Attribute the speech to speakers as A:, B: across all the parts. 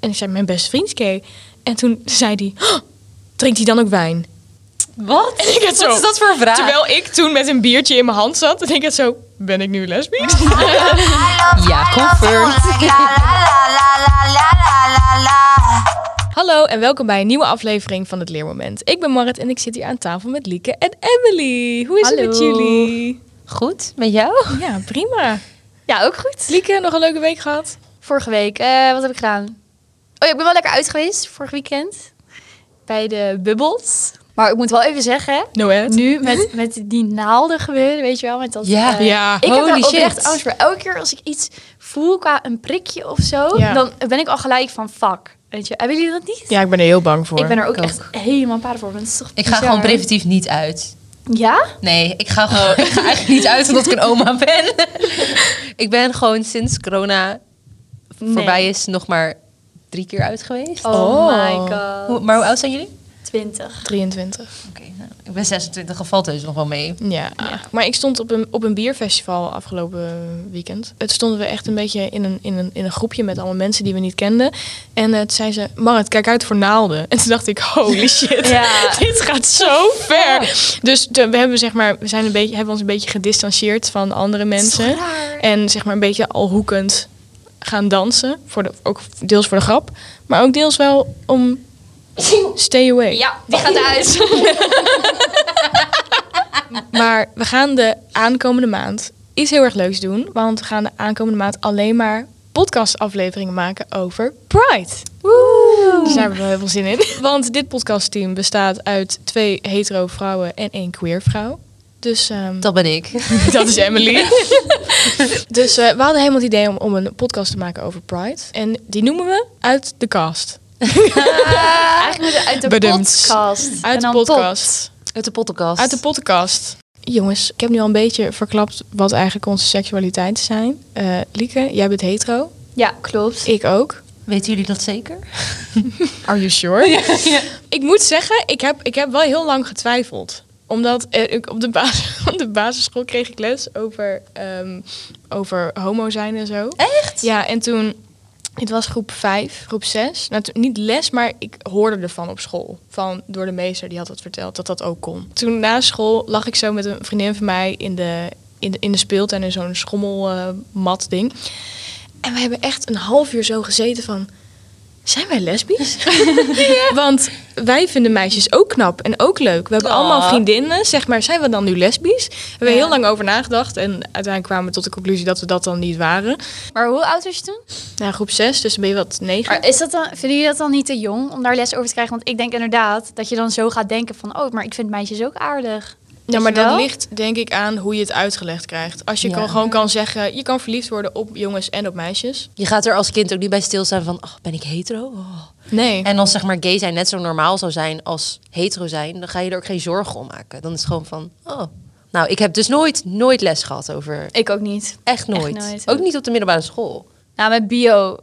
A: En ik zei, mijn beste vriend Kay. En toen zei hij, "Oh, drinkt hij dan ook wijn?
B: Wat?
A: En ik had zo-
B: Wat is dat voor een vraag?
A: Terwijl ik toen met een biertje in mijn hand zat. En ik had zo, ben ik nu lesbisch?
B: Ja, confirmed.
A: Hallo en welkom bij een nieuwe aflevering van het Leermoment. Ik ben Marit en ik zit hier aan tafel met Lieke en Emily. Hoe is het
B: Hallo.
A: met jullie?
B: Goed, met jou?
A: Ja, prima.
C: Ja, ook goed.
A: Lieke, nog een leuke week gehad?
C: Vorige week, eh, wat heb ik gedaan? Oh ja, ik ben wel lekker uit geweest vorig weekend. Bij de bubbels. Maar ik moet wel even zeggen,
A: Noël?
C: nu met, met die naalden gebeuren, weet je wel. Met dat,
B: Ja.
C: eh,
A: Ja.
C: Ik heb
B: Holy
C: daar ook
B: shit.
C: echt angst voor. Elke keer als ik iets voel qua een prikje of zo,
A: Ja.
C: dan ben ik al gelijk van fuck. Weet je, hebben jullie dat niet?
A: Ja, ik ben er heel bang voor.
C: ik ben er ook
B: Ik
C: echt helemaal paard voor. want het is toch
B: Ik ga
C: bizar.
B: gewoon preventief niet uit.
C: Ja?
B: Nee, ik ga gewoon ik ga eigenlijk niet uit omdat ik een oma ben. ik ben gewoon sinds corona
C: Nee.
B: voorbij is nog maar drie keer uit geweest.
C: Oh,
A: Oh.
C: my god.
B: Hoe- maar hoe oud zijn jullie?
C: 20.
A: 23.
B: Oké, nou, ik ben 26, geval dus nog wel mee.
A: Ja. Maar ik stond op een, op een bierfestival afgelopen weekend. Het stonden we echt een beetje in een, in een, in een groepje met allemaal mensen die we niet kenden. En het zei ze, Marit, kijk uit voor naalden. En toen dacht ik, holy shit,
C: Ja.
A: dit gaat zo ver. Dus te- we hebben zeg maar, we zijn een beetje, hebben ons een beetje gedistanceerd van andere mensen. En zeg maar een beetje al hoekend gaan dansen. Voor de, ook deels voor de grap. Maar ook deels wel om stay away.
C: Ja, die gaat uit.
A: Maar we gaan de aankomende maand iets heel erg leuks doen. Want we gaan de aankomende maand alleen maar podcastafleveringen maken over Pride. Dus daar hebben we heel veel zin in. Want dit podcastteam bestaat uit twee hetero vrouwen en één queer vrouw. Dus ehm,
B: Dat ben ik.
A: dat is Emily. dus eh, we hadden helemaal het idee om, om een podcast te maken over Pride. En die noemen we Uit de Cast.
B: Ah.
C: Eigenlijk moeten we uit de
A: Bedoemd.
C: podcast. En
A: Uit de
C: dan
A: podcast.
B: Uit de podcast.
A: Uit de podcast. Jongens, ik heb nu al een beetje verklapt wat eigenlijk onze seksualiteiten zijn. Eh, Lieke, jij bent hetero.
C: pot. Ja, klopt.
A: Ik ook.
B: Weten jullie dat zeker?
A: Are you sure? Ik moet zeggen, ik heb, ik heb wel heel lang getwijfeld. Omdat eh, ik op de, bas- op de basisschool kreeg ik les over, ehm, over homo zijn en zo.
B: Echt?
A: Ja, en toen, het was groep 5, groep 6. Nou, toen- niet les, maar ik hoorde ervan op school. Van, door de meester, die had dat verteld, dat dat ook kon. Toen na school lag ik zo met een vriendin van mij in de, in de, in de speeltuin in zo'n schommelmat ding. En we hebben echt een half uur zo gezeten van... Zijn wij lesbisch? Want wij vinden meisjes ook knap en ook leuk. We hebben
B: Oh.
A: allemaal vriendinnen. Zeg maar, zijn we dan nu lesbisch? We hebben
C: Ja.
A: heel lang over nagedacht. En uiteindelijk kwamen we tot de conclusie dat we dat dan niet waren.
C: Maar hoe oud was je toen?
A: Nou, groep 6, dus dan ben je wat 9.
C: Maar is dat dan, vinden jullie dat dan niet te jong om daar les over te krijgen? Want ik denk inderdaad dat je dan zo gaat denken van... oh, maar ik vind meisjes ook aardig.
A: ja,
C: weet
A: maar
C: je wel?
A: Dus dat ligt denk ik aan hoe je het uitgelegd krijgt. Als je
B: Ja.
A: kan, gewoon kan zeggen, je kan verliefd worden op jongens en op meisjes.
B: Je gaat er als kind ook niet bij stilstaan van, oh, ben ik hetero? Oh.
A: Nee.
B: En als zeg maar gay zijn net zo normaal zou zijn als hetero zijn, dan ga je er ook geen zorgen om maken. Dan is het gewoon van, oh. Nou, ik heb dus nooit, nooit les gehad over.
C: Ik ook niet.
B: Echt nooit.
C: nooit.
B: ook niet op de middelbare school.
C: Nou, met bio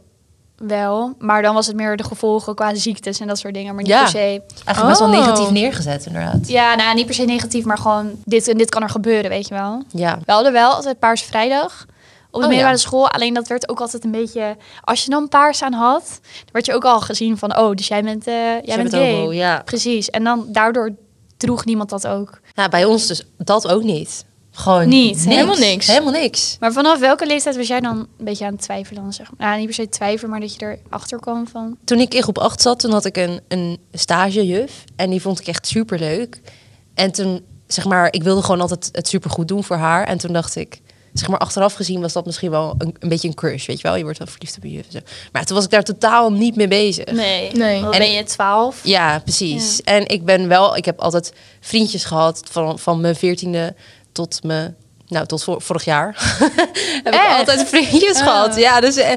C: wel. Maar dan was het meer de gevolgen qua ziektes en dat soort dingen. Maar niet
B: Ja.
C: per se...
B: Eigenlijk best wel
A: Oh.
B: negatief neergezet, inderdaad.
C: Ja, nou, niet per se negatief, maar gewoon... dit en dit kan er gebeuren, weet je wel.
B: Ja.
C: We hadden wel altijd Paarse Vrijdag op
B: Oh,
C: de middelbare
B: ja.
C: school. Alleen dat werd ook altijd een beetje... Als je dan paars aan had, dan werd je ook al gezien van... Oh, dus jij bent, eh, jij
B: bent
C: bent gay.
B: homo, ja.
C: Precies. En dan daardoor droeg niemand dat ook.
B: Nou, bij ons dus dat ook niet. Gewoon
C: Niet, hè?
A: Helemaal niks.
B: Helemaal niks.
C: Maar vanaf welke leeftijd was jij dan een beetje aan het twijfelen? dan, Zeg maar? Nou, niet per se twijfelen, maar dat je erachter kwam van...
B: Toen ik in groep 8 zat, toen had ik een, een stagejuf. En die vond ik echt super leuk. En toen, zeg maar, ik wilde gewoon altijd het supergoed doen voor haar. En toen dacht ik, zeg maar, achteraf gezien was dat misschien wel een, een beetje een crush, weet je wel? Je wordt wel verliefd op je juf en zo. Maar toen was ik daar totaal niet mee bezig.
C: Nee.
A: Nee.
C: Dan
B: En-
C: ben je twaalf.
B: Ja, precies. En ik ben wel, ik heb altijd vriendjes gehad van, van mijn veertiende tot mijn, nou tot vor- vorig jaar. heb ik
C: Echt?
B: altijd vriendjes gehad. Ja, dus eh,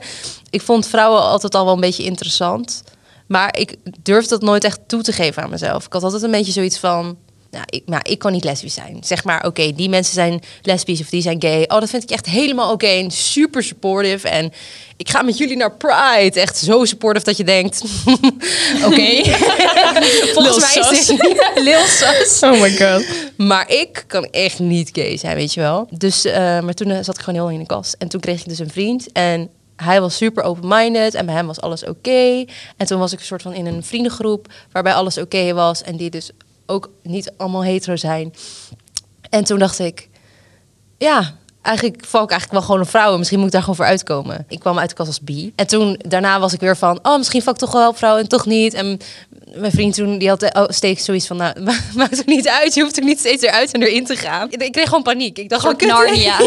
B: ik vond vrouwen altijd al wel een beetje interessant. Maar ik durfde dat nooit echt toe te geven aan mezelf. Ik had altijd een beetje zoiets van, nou, ik, nou, ik kan niet lesbisch zijn. Zeg maar, oké, die mensen zijn lesbisch of die zijn gay. Oh, dat vind ik echt helemaal oké en super supportive. En ik ga met jullie naar Pride. Echt zo supportive dat je denkt, oké.
A: Lil
B: Volgens mij is
A: Sas.
B: dit Ja, Lil Sas.
A: Oh my god.
B: Maar ik kan echt niet gay zijn, weet je wel. Dus, eh, maar toen eh, zat ik gewoon heel lang in de kast. En toen kreeg ik dus een vriend. En hij was super open-minded en bij hem was alles oké. En toen was ik een soort van in een vriendengroep waarbij alles oké was en die dus ook niet allemaal hetero zijn. En toen dacht ik, ja, eigenlijk val ik eigenlijk wel gewoon een vrouw. en Misschien moet ik daar gewoon voor uitkomen. Ik kwam uit de kast als bi. En toen daarna was ik weer van, oh, misschien val ik toch wel op vrouw en toch niet. En mijn vriend toen, die had eh, oh, steeds zoiets van, nou, ma- maakt het niet uit. Je hoeft er niet steeds eruit en erin te gaan. Ik, ik kreeg gewoon paniek. Ik dacht,
C: Een
B: gewoon
C: soort Narnia.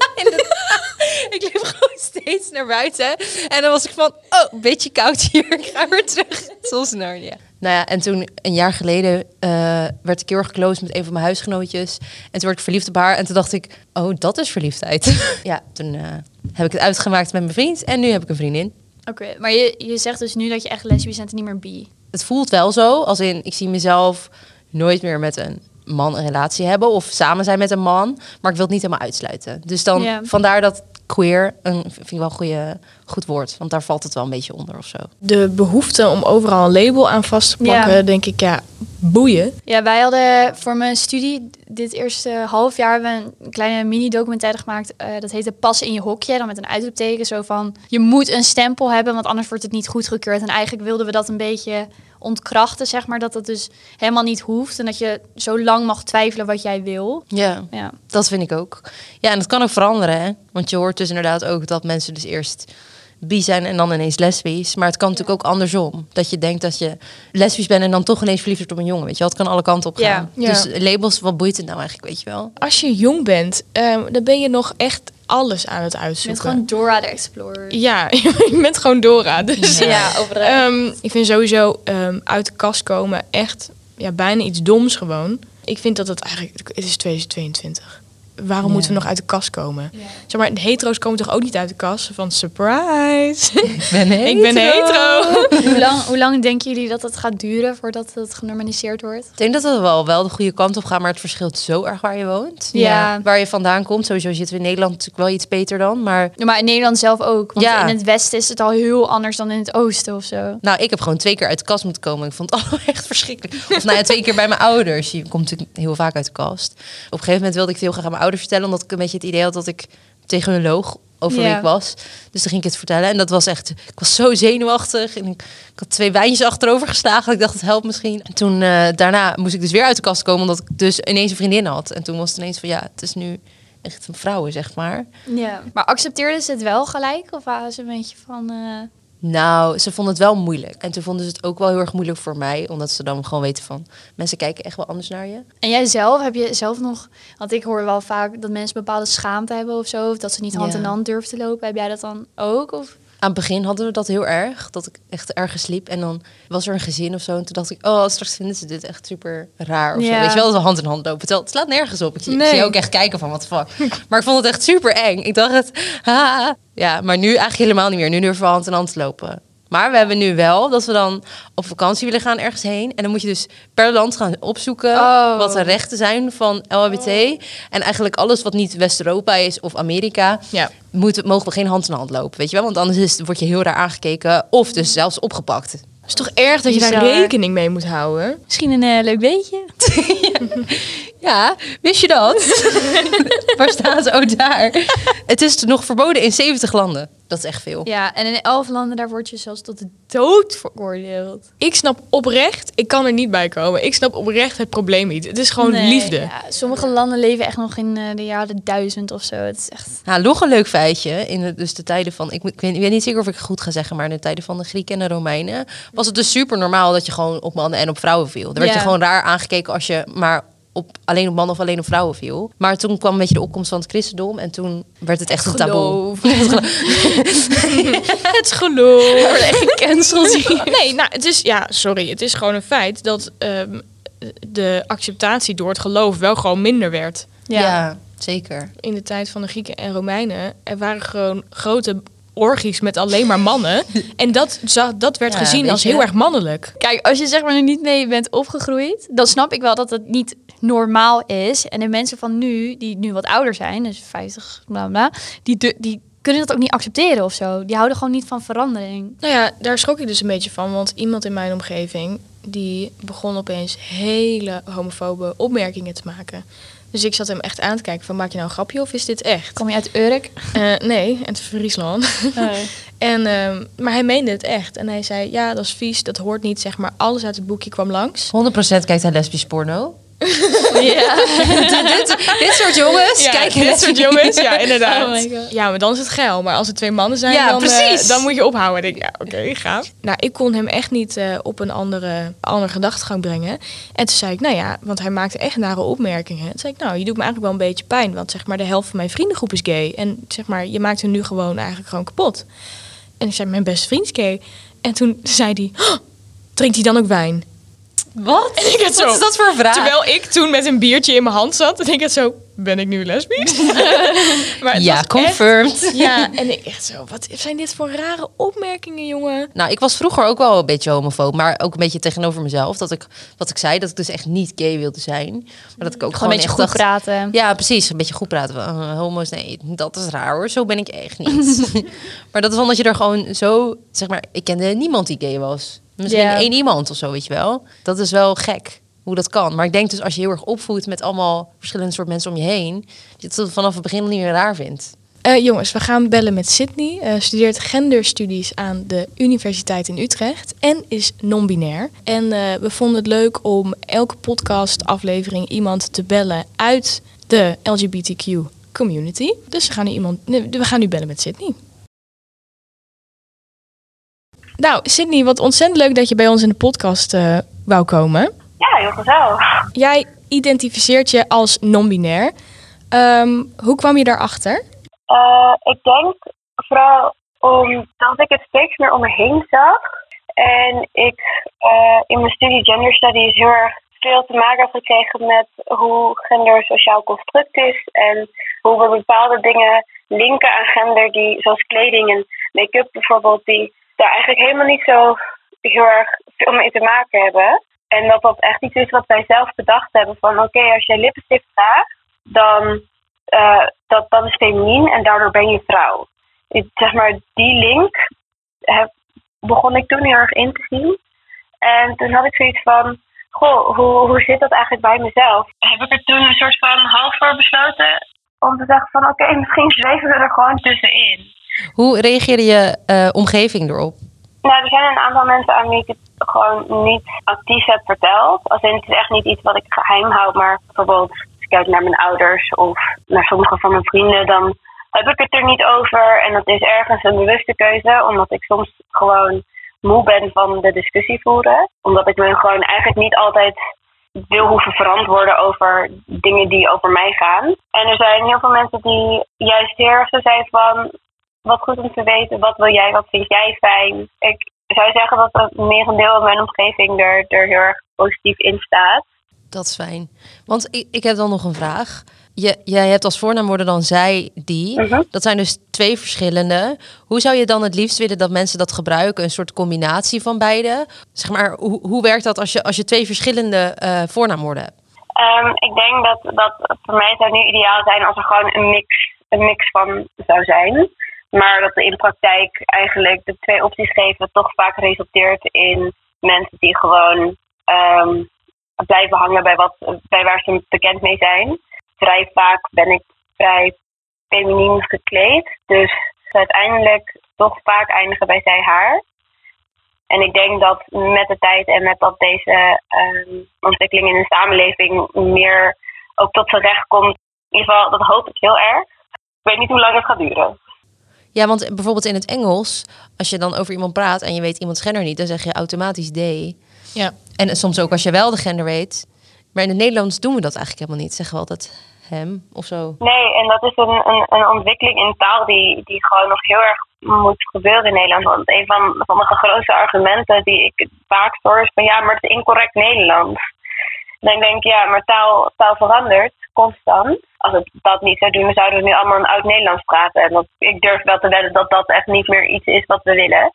B: ik liep gewoon steeds naar buiten. En dan was ik van, oh, een beetje koud hier. Ik ga weer terug. Zoals Narnia. Nou ja, en toen een jaar geleden eh, werd ik heel erg close met een van mijn huisgenootjes. En toen werd ik verliefd op haar. En toen dacht ik, oh, dat is verliefdheid. ja, toen eh, heb ik het uitgemaakt met mijn vriend. En nu heb ik een vriendin.
C: Oké, maar je, je zegt dus nu dat je echt lesbisch bent en niet meer bi.
B: Het voelt wel zo, als in, ik zie mezelf nooit meer met een man een relatie hebben. Of samen zijn met een man. Maar ik wil het niet helemaal uitsluiten. Dus dan,
C: Ja.
B: vandaar dat queer, een, vind ik wel een goeie, goed woord. Want daar valt het wel een beetje onder of zo.
A: De behoefte om overal een label aan vast te
C: Ja.
A: plakken, denk ik, ja, boeien.
C: Ja, wij hadden voor mijn studie dit eerste half jaar hebben we een kleine mini-documentaire gemaakt. Eh, dat heette Pas in je hokje. Dan met een uitroepteken zo van... Je moet een stempel hebben, want anders wordt het niet goedgekeurd. En eigenlijk wilden we dat een beetje ontkrachten, zeg maar. Dat dat dus helemaal niet hoeft. En dat je zo lang mag twijfelen wat jij wil.
B: Ja,
C: Ja.
B: dat vind ik ook. Ja, en dat kan ook veranderen, hè? Want je hoort dus inderdaad ook dat mensen dus eerst bi zijn en dan ineens lesbisch. Maar het kan natuurlijk ook andersom. Dat je denkt dat je lesbisch bent en dan toch ineens verliefd wordt op een jongen, weet je wel. Het kan alle kanten op gaan.
A: Ja.
B: Dus labels, wat boeit het nou eigenlijk, weet je wel?
A: Als je jong bent, ehm, dan ben je nog echt alles aan het
C: Je bent
A: uitzoeken.
C: gewoon Dora de Explorer.
A: Ja, je bent gewoon Dora. Dus
C: Ja, overal.
A: Ehm, ik vind sowieso ehm, uit de kast komen echt ja, bijna iets doms gewoon. Ik vind dat het eigenlijk... Het is 2022. Waarom
B: Ja.
A: moeten we nog uit de kast komen? Zeg maar, hetero's komen toch ook niet uit de kast? Van surprise.
B: Ik ben hetero.
A: ik ben hetero.
C: hoe, lang, hoe lang denken jullie dat het gaat duren voordat het genormaliseerd wordt?
B: Ik denk dat het wel, wel de goede kant op gaat, maar het verschilt zo erg waar je woont.
C: Ja.
B: Waar je vandaan komt. Sowieso zitten we in Nederland natuurlijk wel iets beter dan, maar...
C: Ja, Maar in Nederland zelf ook. Want
B: Ja.
C: in het westen is het al heel anders dan in het oosten of zo.
B: Nou, ik heb gewoon twee keer uit de kast moeten komen. Ik vond het allemaal echt verschrikkelijk. Of nou ja, twee keer bij mijn ouders. Je komt natuurlijk heel vaak uit de kast. Op een gegeven moment wilde ik het heel graag aan mijn ouders vertellen... omdat ik een beetje het idee had dat ik tegen hun loog over
C: Ja.
B: wie ik was. Dus toen ging ik het vertellen. En dat was echt... Ik was zo zenuwachtig. En ik, ik had twee wijntjes achterover geslagen. dat Ik dacht, het helpt misschien. En toen eh, daarna moest ik dus weer uit de kast komen... omdat ik dus ineens een vriendin had. En toen was het ineens van... ja, het is nu echt een vrouw, zeg maar.
C: Ja. Maar accepteerden ze het wel gelijk? Of waren ze een beetje van... eh,
B: Nou, ze vonden het wel moeilijk. En toen vonden ze het ook wel heel erg moeilijk voor mij. Omdat ze dan gewoon weten van... mensen kijken echt wel anders naar je.
C: En jij zelf, heb je zelf nog... Want ik hoor wel vaak dat mensen bepaalde schaamte hebben of zo. Of dat ze niet hand
B: Ja.
C: in hand durven te lopen. Heb jij dat dan ook? Of...
B: Aan het begin hadden we dat heel erg. Dat ik echt ergens liep. En dan was er een gezin of zo. En toen dacht ik... oh, straks vinden ze dit echt super raar. Of zo.
C: Ja.
B: Weet je wel, dat we hand in hand lopen. Terwijl het slaat nergens op. Ik zie, ik
A: Nee.
B: zie je ook echt kijken van wat fuck. Maar ik vond het echt super eng. Ik dacht het... haha. Ja, maar nu eigenlijk helemaal niet meer. Nu durven we hand in hand lopen. Maar we hebben nu wel dat we dan op vakantie willen gaan ergens heen. En dan moet je dus per land gaan opzoeken
C: Oh.
B: wat de rechten zijn van LHBT. En eigenlijk alles wat niet West-Europa is of Amerika,
A: Ja.
B: moeten, mogen we geen hand in hand lopen. Weet je wel? Want anders is, word je heel raar aangekeken of dus zelfs opgepakt.
A: Het is toch erg dat je daar
C: Bizar.
A: rekening mee moet houden?
C: Misschien een eh, leuk beetje.
B: Ja, wist je dat? Waar staan ze? Oh, daar. Het is nog verboden in 70 landen. Dat is echt veel.
C: Ja, en in elf landen daar word je zelfs tot de dood veroordeeld.
A: Ik snap oprecht, ik kan er niet bij komen. Ik snap oprecht het probleem niet. Het is gewoon
C: Nee,
A: liefde.
C: ja, sommige landen leven echt nog in eh, de jaren duizend of zo. Het is echt...
B: Nou, nog een leuk feitje. In de, dus de tijden van, ik, moet- ik, weet, ik weet niet zeker of ik het goed ga zeggen, maar in de tijden van de Grieken en de Romeinen was het dus super normaal dat je gewoon op mannen en op vrouwen viel. Dan werd
C: Ja.
B: je gewoon raar aangekeken als je maar op, alleen op mannen of alleen op vrouwen viel. Maar toen kwam een beetje de opkomst van het christendom en toen werd het echt een taboe.
A: Geloof. het geloof.
B: Wordt echt gecanceld hier.
A: Nee, nou, het is, ja, sorry. Het is gewoon een feit dat ehm, de acceptatie door het geloof wel gewoon minder werd.
B: Ja.
C: ja.
B: zeker.
A: In de tijd van de Grieken en Romeinen, er waren gewoon grote orgies met alleen maar mannen. En dat, za- dat werd
B: Ja,
A: gezien
B: weet
A: als
B: je.
A: heel erg mannelijk.
C: Kijk, als je zeg maar er niet mee bent opgegroeid, dan snap ik wel dat het niet normaal is. En de mensen van nu, die nu wat ouder zijn, dus 50, bla bla, die, du- die kunnen dat ook niet accepteren of zo. Die houden gewoon niet van verandering.
A: Nou ja, daar schrok ik dus een beetje van. Want iemand in mijn omgeving, die begon opeens hele homofobe opmerkingen te maken. Dus ik zat hem echt aan te kijken van maak je nou een grapje of is dit echt?
C: Kom je uit Urk?
A: Eh, nee, en het is Friesland. En, ehm, maar hij meende het echt. En hij zei, ja, dat is vies, dat hoort niet, zeg maar. Alles uit het boekje kwam langs.
B: 100% kijkt hij lesbisch porno.
C: ja.
B: dit, dit, dit soort jongens
A: Ja,
B: kijken
A: dit
B: lesbisch-
A: soort jongens, ja, inderdaad.
C: Oh my God.
A: Ja, maar dan is het geil. Maar als het twee mannen zijn,
B: Ja,
A: dan, eh,
B: precies.
A: dan moet je ophouden. Ik denk, ja, oké, gaaf. Nou, ik kon hem echt niet eh, op een andere, andere gedachtegang brengen. En toen zei ik, nou ja, want hij maakte echt nare opmerkingen. Toen zei ik, nou, je doet me eigenlijk wel een beetje pijn. Want zeg maar, de helft van mijn vriendengroep is gay. En zeg maar, je maakt hun nu gewoon eigenlijk gewoon kapot. En ik zei, mijn beste vriend is gay. En toen zei hij, "Oh, drinkt hij dan ook wijn?
B: Wat?
A: En ik had zo-
B: Wat is dat voor een vraag?
A: Terwijl ik toen met een biertje in mijn hand zat. En ik had zo, ben ik nu lesbisch? maar het
B: ja,
A: was echt-
B: confirmed.
A: Ja, en ik echt zo, wat zijn dit voor rare opmerkingen, jongen?
B: Nou, ik was vroeger ook wel een beetje homofoob, maar ook een beetje tegenover mezelf. Dat ik, wat ik zei, dat ik dus echt niet gay wilde zijn. Maar dat ik ook gewoon,
C: Gewoon een beetje
B: echt
C: goed
B: dacht-
C: praten.
B: Ja, precies. Een beetje goed praten. Van, eh, homo's, nee, dat is raar hoor. Zo ben ik echt niet. maar dat is omdat je er gewoon zo, zeg maar, ik kende niemand die gay was. Misschien
C: Ja.
B: één iemand of zo, weet je wel. Dat is wel gek hoe dat kan. Maar ik denk dus als je heel erg opvoedt met allemaal verschillende soort mensen om je heen, dat je het vanaf het begin niet meer raar vindt.
A: Eh, jongens, we gaan bellen met Sydney. Eh, studeert genderstudies aan de Universiteit in Utrecht en is non-binair. En eh, we vonden het leuk om elke podcastaflevering iemand te bellen uit de LGBTQ community. Dus we gaan nu, iemand, nee, we gaan nu bellen met Sydney. Nou, Sydney, wat ontzettend leuk dat je bij ons in de podcast eh, wou komen.
D: Ja, heel gezellig.
A: Jij identificeert je als non-binair. Ehm, hoe kwam je daarachter?
D: Eh, ik denk vooral omdat ik het steeds meer om me heen zag. En ik eh, in mijn studie gender studies heel erg veel te maken heb gekregen met hoe gender een sociaal construct is. En hoe we bepaalde dingen linken aan gender, die, zoals kleding en make-up bijvoorbeeld, die daar eigenlijk helemaal niet zo heel erg veel mee te maken hebben. En dat dat echt iets is wat wij zelf bedacht hebben van oké, als jij lippenstift draagt, dan eh, dat, dat is feminien en daardoor ben je vrouw. Ik, zeg maar, die link heb, begon ik toen heel erg in te zien. En toen had ik zoiets van, goh, hoe, hoe zit dat eigenlijk bij mezelf? Heb ik er toen een soort van half voor besloten om te zeggen van, oké, misschien zweven we er gewoon tussenin.
B: Hoe reageerde je eh, omgeving erop?
D: Nou, er zijn een aantal mensen aan wie ik het gewoon niet actief heb verteld. Als in, het is echt niet iets wat ik geheim houd, maar bijvoorbeeld als ik kijk naar mijn ouders of naar sommige van mijn vrienden, dan heb ik het er niet over. En dat is ergens een bewuste keuze, omdat ik soms gewoon moe ben van de discussie voeren. Omdat ik me gewoon eigenlijk niet altijd wil hoeven verantwoorden over dingen die over mij gaan. En er zijn heel veel mensen die juist heel erg zo zijn van wat goed om te weten. Wat wil jij? Wat vind jij fijn? Ik zou zeggen dat het merendeel in mijn omgeving er, er heel erg positief in staat.
B: Dat is fijn. Want ik, ik heb dan nog een vraag. Je, jij hebt als voornaamwoorden dan zij, die.
D: Mhm.
B: Dat zijn dus twee verschillende. Hoe zou je dan het liefst willen dat mensen dat gebruiken? Een soort combinatie van beide? Zeg maar, hoe, hoe werkt dat als je, als je twee verschillende eh, voornaamwoorden hebt?
D: Ehm, ik denk dat, dat het voor mij zou nu ideaal zijn als er gewoon een mix, een mix van zou zijn. Maar dat we in praktijk eigenlijk de twee opties geven toch vaak resulteert in mensen die gewoon ehm, blijven hangen bij, wat, bij waar ze bekend mee zijn. Vrij vaak ben ik vrij feminien gekleed. Dus uiteindelijk toch vaak eindigen bij zij haar. En ik denk dat met de tijd en met dat deze ehm, ontwikkeling in de samenleving meer ook tot zijn recht komt. In ieder geval, dat hoop ik heel erg. Ik weet niet hoe lang het gaat duren.
B: Ja, want bijvoorbeeld in het Engels, als je dan over iemand praat en je weet iemands gender niet, dan zeg je automatisch they.
A: Ja.
B: En soms ook als je wel de gender weet. Maar in het Nederlands doen we dat eigenlijk helemaal niet. Zeggen we altijd hem of zo.
D: Nee, en dat is een, een, een ontwikkeling in taal die, die gewoon nog heel erg moet gebeuren in Nederland. Want een van, van de grootste argumenten die ik vaak hoor is van ja, maar het is incorrect Nederlands. En ik denk, ja, maar taal, taal verandert constant. Als het dat niet zou doen, dan zouden we nu allemaal een oud Nederlands praten. En dat, ik durf wel te wedden dat dat echt niet meer iets is wat we willen.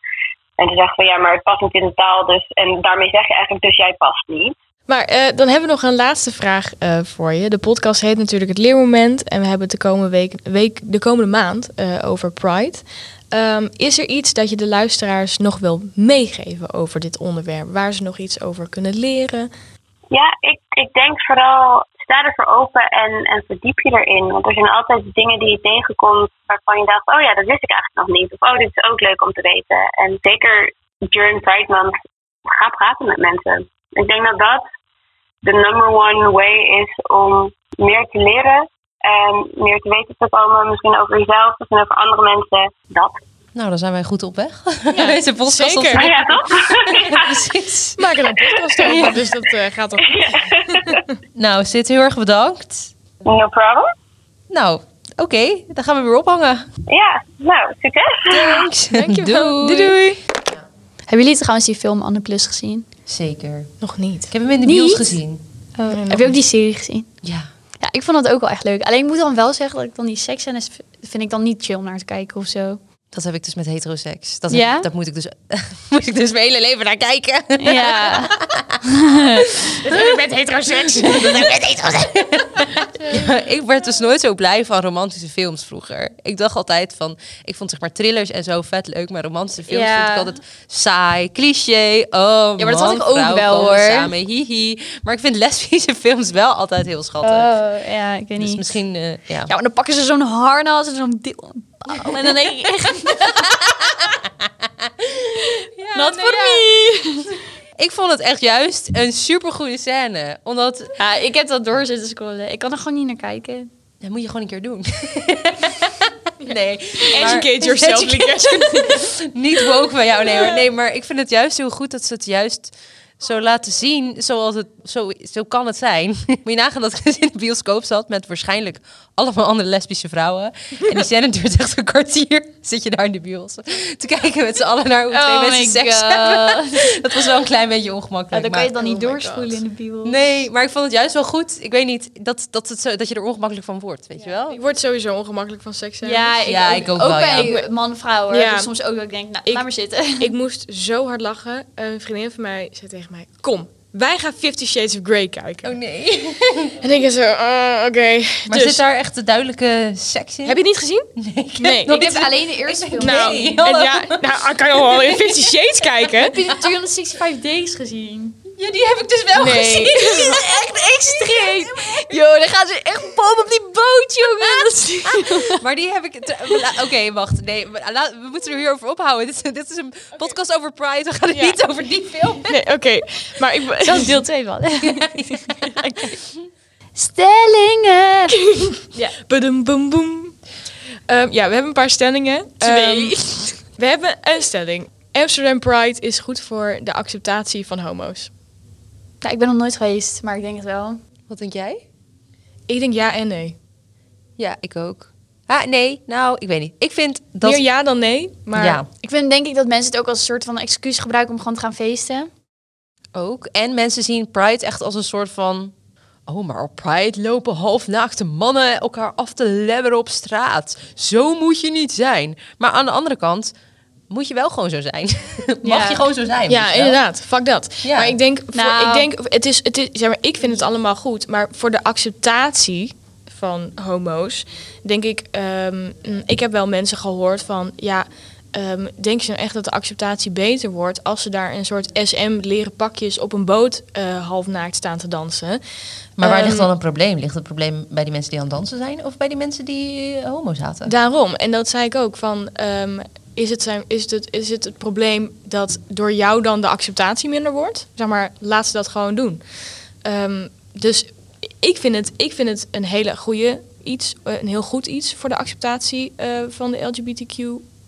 D: En ze zeggen van ja, maar het past niet in de taal. Dus, en daarmee zeg je eigenlijk, dus jij past niet.
A: Maar eh, dan hebben we nog een laatste vraag eh, voor je. De podcast heet natuurlijk Het Leermoment. En we hebben het de komende, week, week, de komende maand eh, over Pride. Ehm, is er iets dat je de luisteraars nog wil meegeven over dit onderwerp? Waar ze nog iets over kunnen leren?
D: Ja, ik, ik denk vooral sta ervoor open en, en verdiep je erin. Want er zijn altijd dingen die je tegenkomt waarvan je dacht, oh ja, dat wist ik eigenlijk nog niet. Of oh, dit is ook leuk om te weten. En zeker during Pride Month, ga praten met mensen. Ik denk dat dat de number one way is om meer te leren. En meer te weten te komen, misschien over jezelf, misschien over andere mensen. Dat.
B: Nou, dan zijn wij goed op weg. Deze podcast
A: zeker.
B: ontstaat-
D: Ah ja, toch?
B: Ja, precies.
A: Maak er een podcast over, dus dat eh, gaat toch goed.
B: Nou, Sid, heel erg bedankt.
D: No problem.
B: Nou, oké, dan gaan we weer ophangen.
D: Ja, nou, succes.
B: Thanks.
A: Dankjewel.
B: Doei.
A: Doei, doei.
C: Hebben jullie trouwens die film Anne Plus gezien?
B: Zeker.
A: Nog niet.
B: Ik heb hem in de
C: Niet?
B: bios gezien.
C: Heb je ook die serie gezien?
B: Ja.
C: Ja, ik vond dat ook wel echt leuk. Alleen ik moet dan wel zeggen dat ik dan die seksscènes v- vind ik dan niet chill om naar te kijken of zo.
B: Dat heb ik dus met heteroseks. Dat,
C: Ja?
B: dat moet ik dus moet ik dus mijn hele leven naar kijken.
C: Ja,
A: Ik ben heteroseks.
B: Ja, ik werd dus nooit zo blij van romantische films vroeger. Ik dacht altijd van, ik vond zeg maar thrillers en zo vet leuk, maar romantische films
C: Ja.
B: vond ik altijd saai, cliché. Oh,
C: maar dat
B: man,
C: had ik ook
B: vrouw
C: wel,
B: komen
C: hoor.
B: Samen, hihi. Maar ik vind lesbische films wel altijd heel schattig.
C: oh, ja ik weet
B: dus
C: niet.
B: misschien, eh, ja.
C: Ja, maar dan pakken ze zo'n harnas en zo'n deel. En dan denk ik echt, not for me.
B: Ik vond het echt juist een supergoede scène, omdat
C: Ja, ik heb dat door zitten scrollen. Ik kan er gewoon niet naar kijken.
B: dat moet je gewoon een keer doen. nee,
A: Educate yourself. Lieke.
B: niet woke van jou, nee hoor. Nee, maar ik vind het juist heel goed dat ze het juist zo laten zien zoals het, zo, zo kan het zijn. Moet je nagaan dat ik dus in de bioscoop zat met waarschijnlijk allemaal andere lesbische vrouwen. En die scène duurt echt een kwartier. Zit je daar in de bios te kijken met z'n allen naar hoe twee
C: Oh
B: mensen
C: my
B: seks
C: God.
B: hebben. Dat was wel een klein beetje ongemakkelijk.
C: Ja, dan kan
B: maar-
C: je dan niet
A: oh my
C: doorspoelen
A: God.
C: in de bibel.
B: Nee, maar ik vond het juist wel goed. Ik weet niet, dat, dat, het zo, dat je er ongemakkelijk van wordt, weet je wel?
A: Ik word sowieso ongemakkelijk van seks. hebben.
C: Ja, ik,
B: Ja,
C: ook,
B: ik ook wel,
C: bij
B: ja.
C: man-vrouw hoor.
A: Ja.
C: Dus soms ook dat ik denk, nou,
A: Ik-
C: laat maar zitten.
A: Ik moest zo hard lachen. Een vriendin van mij zei tegen mij: Kom, wij gaan Fifty Shades of Grey kijken.
B: Oh nee.
A: En ik zo: "Ah, Oké.
B: Maar
A: Dus,
B: zit daar echt de duidelijke seks in?
A: Heb je het niet gezien? Nee. nee.
C: Ik heb alleen de eerste film.
A: nou,
B: Nee,
A: en
B: hallo.
A: ja, nou, ik kan je wel in Fifty Shades kijken.
C: Heb je de 365 Days gezien?
B: Ja, die heb ik dus wel
A: Nee.
B: gezien. Die is echt extreem. Yo, dan gaan ze echt boom op die boot, jongen. Dat is- maar die heb ik... te- la- Oké, wacht. Nee, maar la- we moeten er hierover ophouden. Dit, is- dit is een podcast over Pride. We gaan het
A: Ja.
B: niet over die film.
A: Nee, oké. Maar ik.
C: Dat is deel 2 van. Stellingen!
A: Badum, boom, boom. Ehm, ja, we hebben een paar stellingen. Ehm, we hebben een stelling. Amsterdam Pride is goed voor de acceptatie van homo's.
C: Nou, ik ben nog nooit geweest, maar ik denk het wel.
B: Wat denk jij?
A: Ik denk ja en nee.
B: Ja, ik ook. Ah, nee. Nou, ik weet niet. Ik vind dat...
A: Meer ja dan nee, maar
B: Ja,
C: Ik vind denk ik dat mensen het ook als een soort van excuus gebruiken om gewoon te gaan feesten.
B: ook. En mensen zien Pride echt als een soort van... Oh, maar op Pride lopen halfnaakte mannen elkaar af te lebberen op straat. Zo moet je niet zijn. Maar aan de andere kant moet je wel gewoon zo zijn. Mag
C: Ja.
B: je gewoon zo zijn. weet
A: Ja,
B: je wel?
A: inderdaad. Fuck dat.
B: Ja.
A: Maar ik denk, voor-
C: Nou.
A: ik denk, het is, het is, zeg maar, ik vind het allemaal goed, maar voor de acceptatie van homo's, denk ik, ehm, mm, ik heb wel mensen gehoord van, ja, ehm, denk je nou echt dat de acceptatie beter wordt als ze daar een soort SM leren pakjes op een boot eh halfnaakt staan te dansen?
B: Maar waar ligt
A: Ehm,
B: dan het probleem? Ligt het probleem bij die mensen die aan het dansen zijn? Of bij die mensen die eh, homo zaten?
A: Daarom, en dat zei ik ook, van ehm, is, het zijn, is, het, is het het probleem dat door jou dan de acceptatie minder wordt? Zeg maar, laat ze dat gewoon doen. Ehm, dus ik vind, het, ik vind het een hele goede iets, eh, een heel goed iets voor de acceptatie eh, van de LGBTQ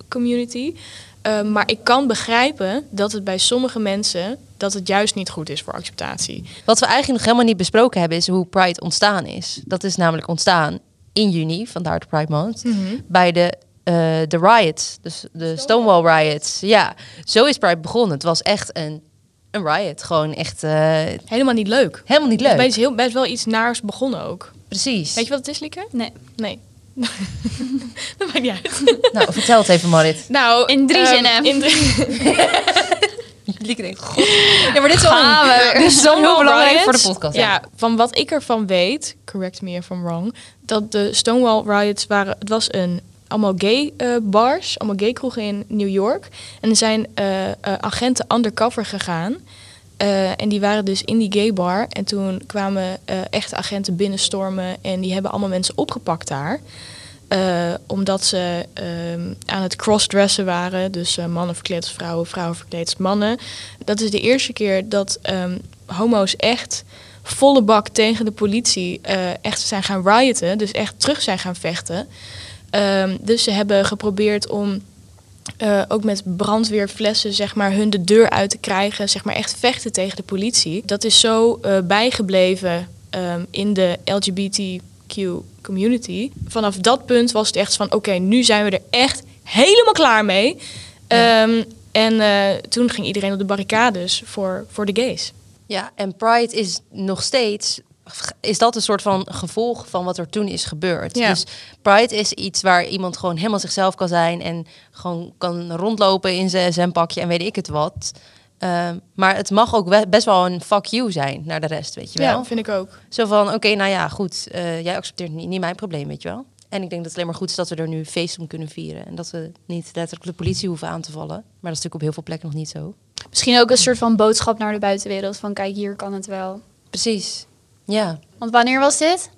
A: community. Ehm, maar ik kan begrijpen dat het bij sommige mensen dat het juist niet goed is voor acceptatie.
B: Wat we eigenlijk nog helemaal niet besproken hebben is hoe Pride ontstaan is. Dat is namelijk ontstaan in juni, vandaar de Pride Month, bij de, eh, de riots, dus de Mhm. Stonewall riots. Ja, zo is Pride begonnen. Het was echt een, een riot, gewoon echt eh,
A: Helemaal niet leuk.
B: helemaal niet
A: Het is
B: leuk.
A: best, heel, best wel iets naars begonnen ook.
B: Precies.
A: Weet je wat het is, Lieke?
C: Nee.
A: Nee. dat maakt niet uit.
B: Nou, vertel het even, Marit.
A: Nou,
C: In drie
A: ehm,
C: zinnen.
A: In drie...
B: Lieke denkt, god. Ja, maar dit is wel,
C: Gaan we.
B: dit is wel heel belangrijk
A: Riots.
B: voor de podcast.
A: Ja.
B: Ja.
A: van wat ik ervan weet, correct me if I'm wrong, dat de Stonewall riots waren. Het was een allemaal gay eh, bars, allemaal gay kroegen in New York. En er zijn eh, eh, agenten undercover gegaan. Eh, en die waren dus in die gay bar. En toen kwamen eh, echte agenten binnenstormen. En die hebben allemaal mensen opgepakt daar. Eh, omdat ze ehm, aan het crossdressen waren. Dus eh, mannen verkleed als vrouwen, vrouwen verkleed als mannen. Dat is de eerste keer dat ehm, homo's echt volle bak tegen de politie eh, echt zijn gaan rioten. Dus echt terug zijn gaan vechten. Ehm, dus ze hebben geprobeerd om eh, ook met brandweerflessen zeg maar, hun de deur uit te krijgen. Zeg maar echt vechten tegen de politie. Dat is zo eh, bijgebleven ehm, in de LGBTQ community. Vanaf dat punt was het echt van... oké, nu zijn we er echt helemaal klaar mee. Ehm, en eh, toen ging iedereen op de barricades voor, voor de gays.
B: Ja, en Pride is nog steeds. Is dat een soort van gevolg van wat er toen is gebeurd?
A: Ja.
B: Dus Pride is iets waar iemand gewoon helemaal zichzelf kan zijn en gewoon kan rondlopen in zijn zempakje en weet ik het wat. Ehm, maar het mag ook we- best wel een fuck you zijn naar de rest, weet je wel?
A: Ja, vind ik ook.
B: Zo van, oké, nou ja, goed, eh, jij accepteert niet, niet mijn probleem, weet je wel? En ik denk dat het alleen maar goed is dat we er nu feest om kunnen vieren en dat we niet letterlijk de politie hoeven aan te vallen. Maar dat is natuurlijk op heel veel plekken nog niet zo.
C: Misschien ook een soort van boodschap naar de buitenwereld. Van kijk, hier kan het wel.
B: Precies. Ja.
C: Want wanneer was dit?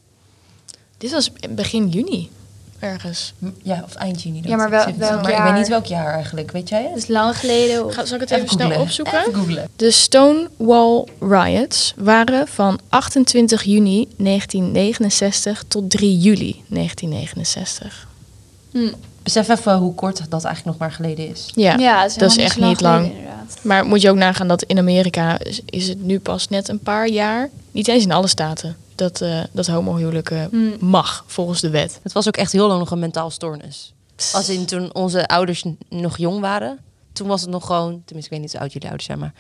A: Dit was begin juni ergens.
B: Ja, of eind juni.
C: Ja, maar wel- Zeventien. welk
B: maar ik
C: jaar?
B: weet niet welk jaar eigenlijk. Weet jij het?
C: Dat is Dus lang geleden.
A: Ga, zal ik het
B: Even
A: even, snel
B: googlen.
A: opzoeken?
B: googlen.
A: De Stonewall Riots waren van 28 juni 1969 tot 3 juli 1969.
B: Besef even hoe kort dat eigenlijk nog maar geleden is.
A: Ja,
C: het
A: dat is
C: helemaal
A: echt niet lang.
C: geleden, inderdaad.
A: Maar moet je ook nagaan dat in Amerika is, is het nu pas net een paar jaar, niet eens in alle staten, dat, eh dat homohuwelijk eh, mag volgens de wet.
B: Het was ook echt heel lang nog een mentaal stoornis. Als in toen onze ouders n- nog jong waren, toen was het nog gewoon, tenminste ik weet niet hoe oud jullie ouders zijn, maar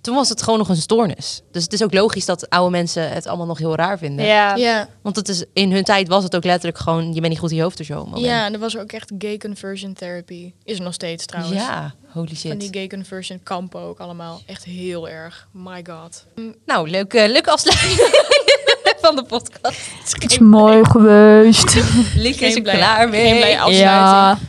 B: toen was het gewoon nog een stoornis. Dus het is ook logisch dat oude mensen het allemaal nog heel raar vinden.
C: Ja.
A: Ja,
B: Want het is, in hun tijd was het ook letterlijk gewoon, je bent niet goed in je hoofd of zo. moment.
A: ja, en er was ook echt gay conversion therapy. Is er nog steeds trouwens.
B: ja, holy
A: Van die
B: shit.
A: gay conversion kampen ook allemaal. Echt heel erg. My god.
B: Nou, leuke, leuke afsluiting van de podcast.
C: Het is mooi geweest.
B: Lieke is er
A: Geen blij-
B: klaar mee.
A: geen blij afsluiting.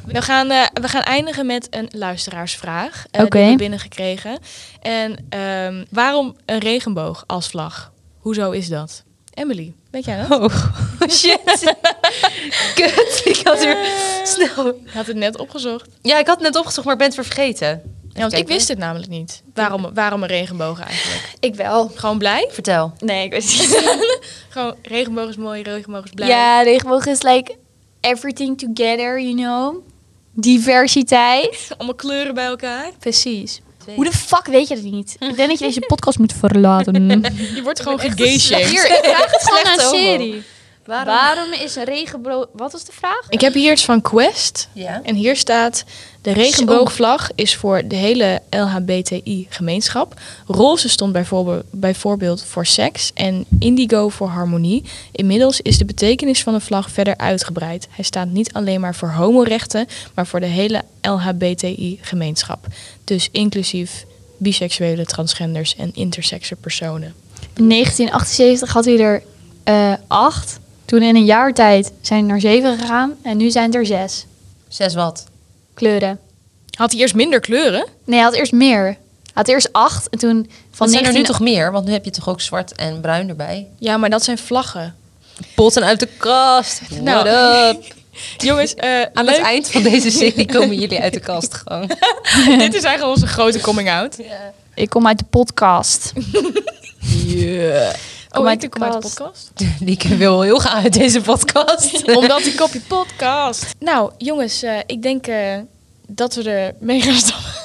C: Ja.
A: We gaan, eh, we gaan eindigen met een luisteraarsvraag. eh,
C: Oké.
A: Die we binnengekregen. En ehm, waarom een regenboog als vlag? Hoezo is dat? Emily, weet jij dat?
B: Oh, shit. Kut, ik had er snel...
A: Ik had het net opgezocht.
B: Ja, ik had het net opgezocht, maar ik ben het weer vergeten.
A: Ja, want ik
B: kijken.
A: wist het namelijk niet. Waarom, waarom een regenboog eigenlijk?
C: Ik wel.
A: Gewoon blij?
B: Vertel.
C: Nee, ik weet het niet.
A: Gewoon regenboog is mooi, regenboog is blij.
C: Ja, regenboog is like everything together, you know. Diversiteit.
A: Allemaal kleuren bij elkaar.
C: Precies.
B: Twee.
C: Hoe de fuck weet je dat niet? Ik denk dat je deze podcast moet verlaten.
A: Je wordt gewoon
B: slecht-
A: gegay
C: Hier, ik vraag het gewoon
B: Slechte
C: aan
B: homo.
C: Siri. Waarom? is een regenboog... Wat was de vraag?
A: Ik heb hier iets van Quest.
B: Ja.
A: En hier staat: de regenboogvlag is voor de hele LHBTI-gemeenschap. Roze stond bijvoorbeeld, bijvoorbeeld voor seks en indigo voor harmonie. Inmiddels is de betekenis van de vlag verder uitgebreid. Hij staat niet alleen maar voor homorechten, maar voor de hele LHBTI-gemeenschap. Dus inclusief biseksuele, transgenders en intersexe personen.
C: In 1978 had hij er eh, acht. Toen in een jaar tijd zijn er naar zeven gegaan. En nu zijn het er zes
B: Zes wat?
C: kleuren.
A: Had hij eerst minder kleuren?
C: Nee, hij had eerst meer. Hij had eerst acht. En toen van
B: Van zijn er nu
C: 19...
B: toch meer? Want nu heb je toch ook zwart en bruin erbij?
A: Ja, maar dat zijn vlaggen.
B: Potten uit de kast.
A: Nou.
B: What up?
A: Jongens, eh,
B: Aan
A: leuk.
B: het eind van deze serie komen jullie uit de kast gewoon.
A: dit is eigenlijk onze grote Oh, coming-out.
C: Ik kom uit de podcast.
A: Kom
C: Oh,
A: uit de
C: ik kom uit de
A: podcast.
B: Lieke wil heel graag uit deze podcast.
A: Omdat die kopje podcast. Nou, jongens, eh, ik denk eh, dat we er mee gaan stoppen.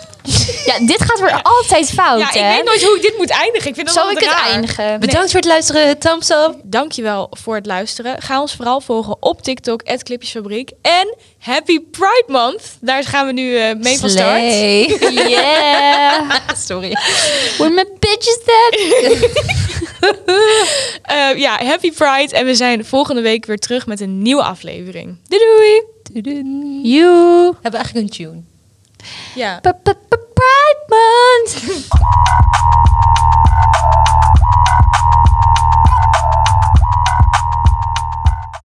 C: Ja, dit gaat weer altijd fout,
A: Ja, ik
C: hè?
A: weet nooit hoe ik dit moet eindigen. Ik vind dat
C: Zal ik
A: altijd
C: het
A: raar.
C: eindigen?
B: Bedankt voor het luisteren. Thumbs up.
A: Dankjewel voor het luisteren. Ga ons vooral volgen op TikTok, Clipjesfabriek. En Happy Pride Month. Daar gaan we nu eh, mee van start.
B: Slay.
C: Yeah!
B: Sorry.
C: Where my bitches at?
A: Eh, ja, Happy Pride. En we zijn volgende week weer terug met een nieuwe aflevering. Doei doei.
B: Tudun.
C: You!
B: Hebben we eigenlijk een tune?
A: Ja.
C: P-p-p- Pride Month!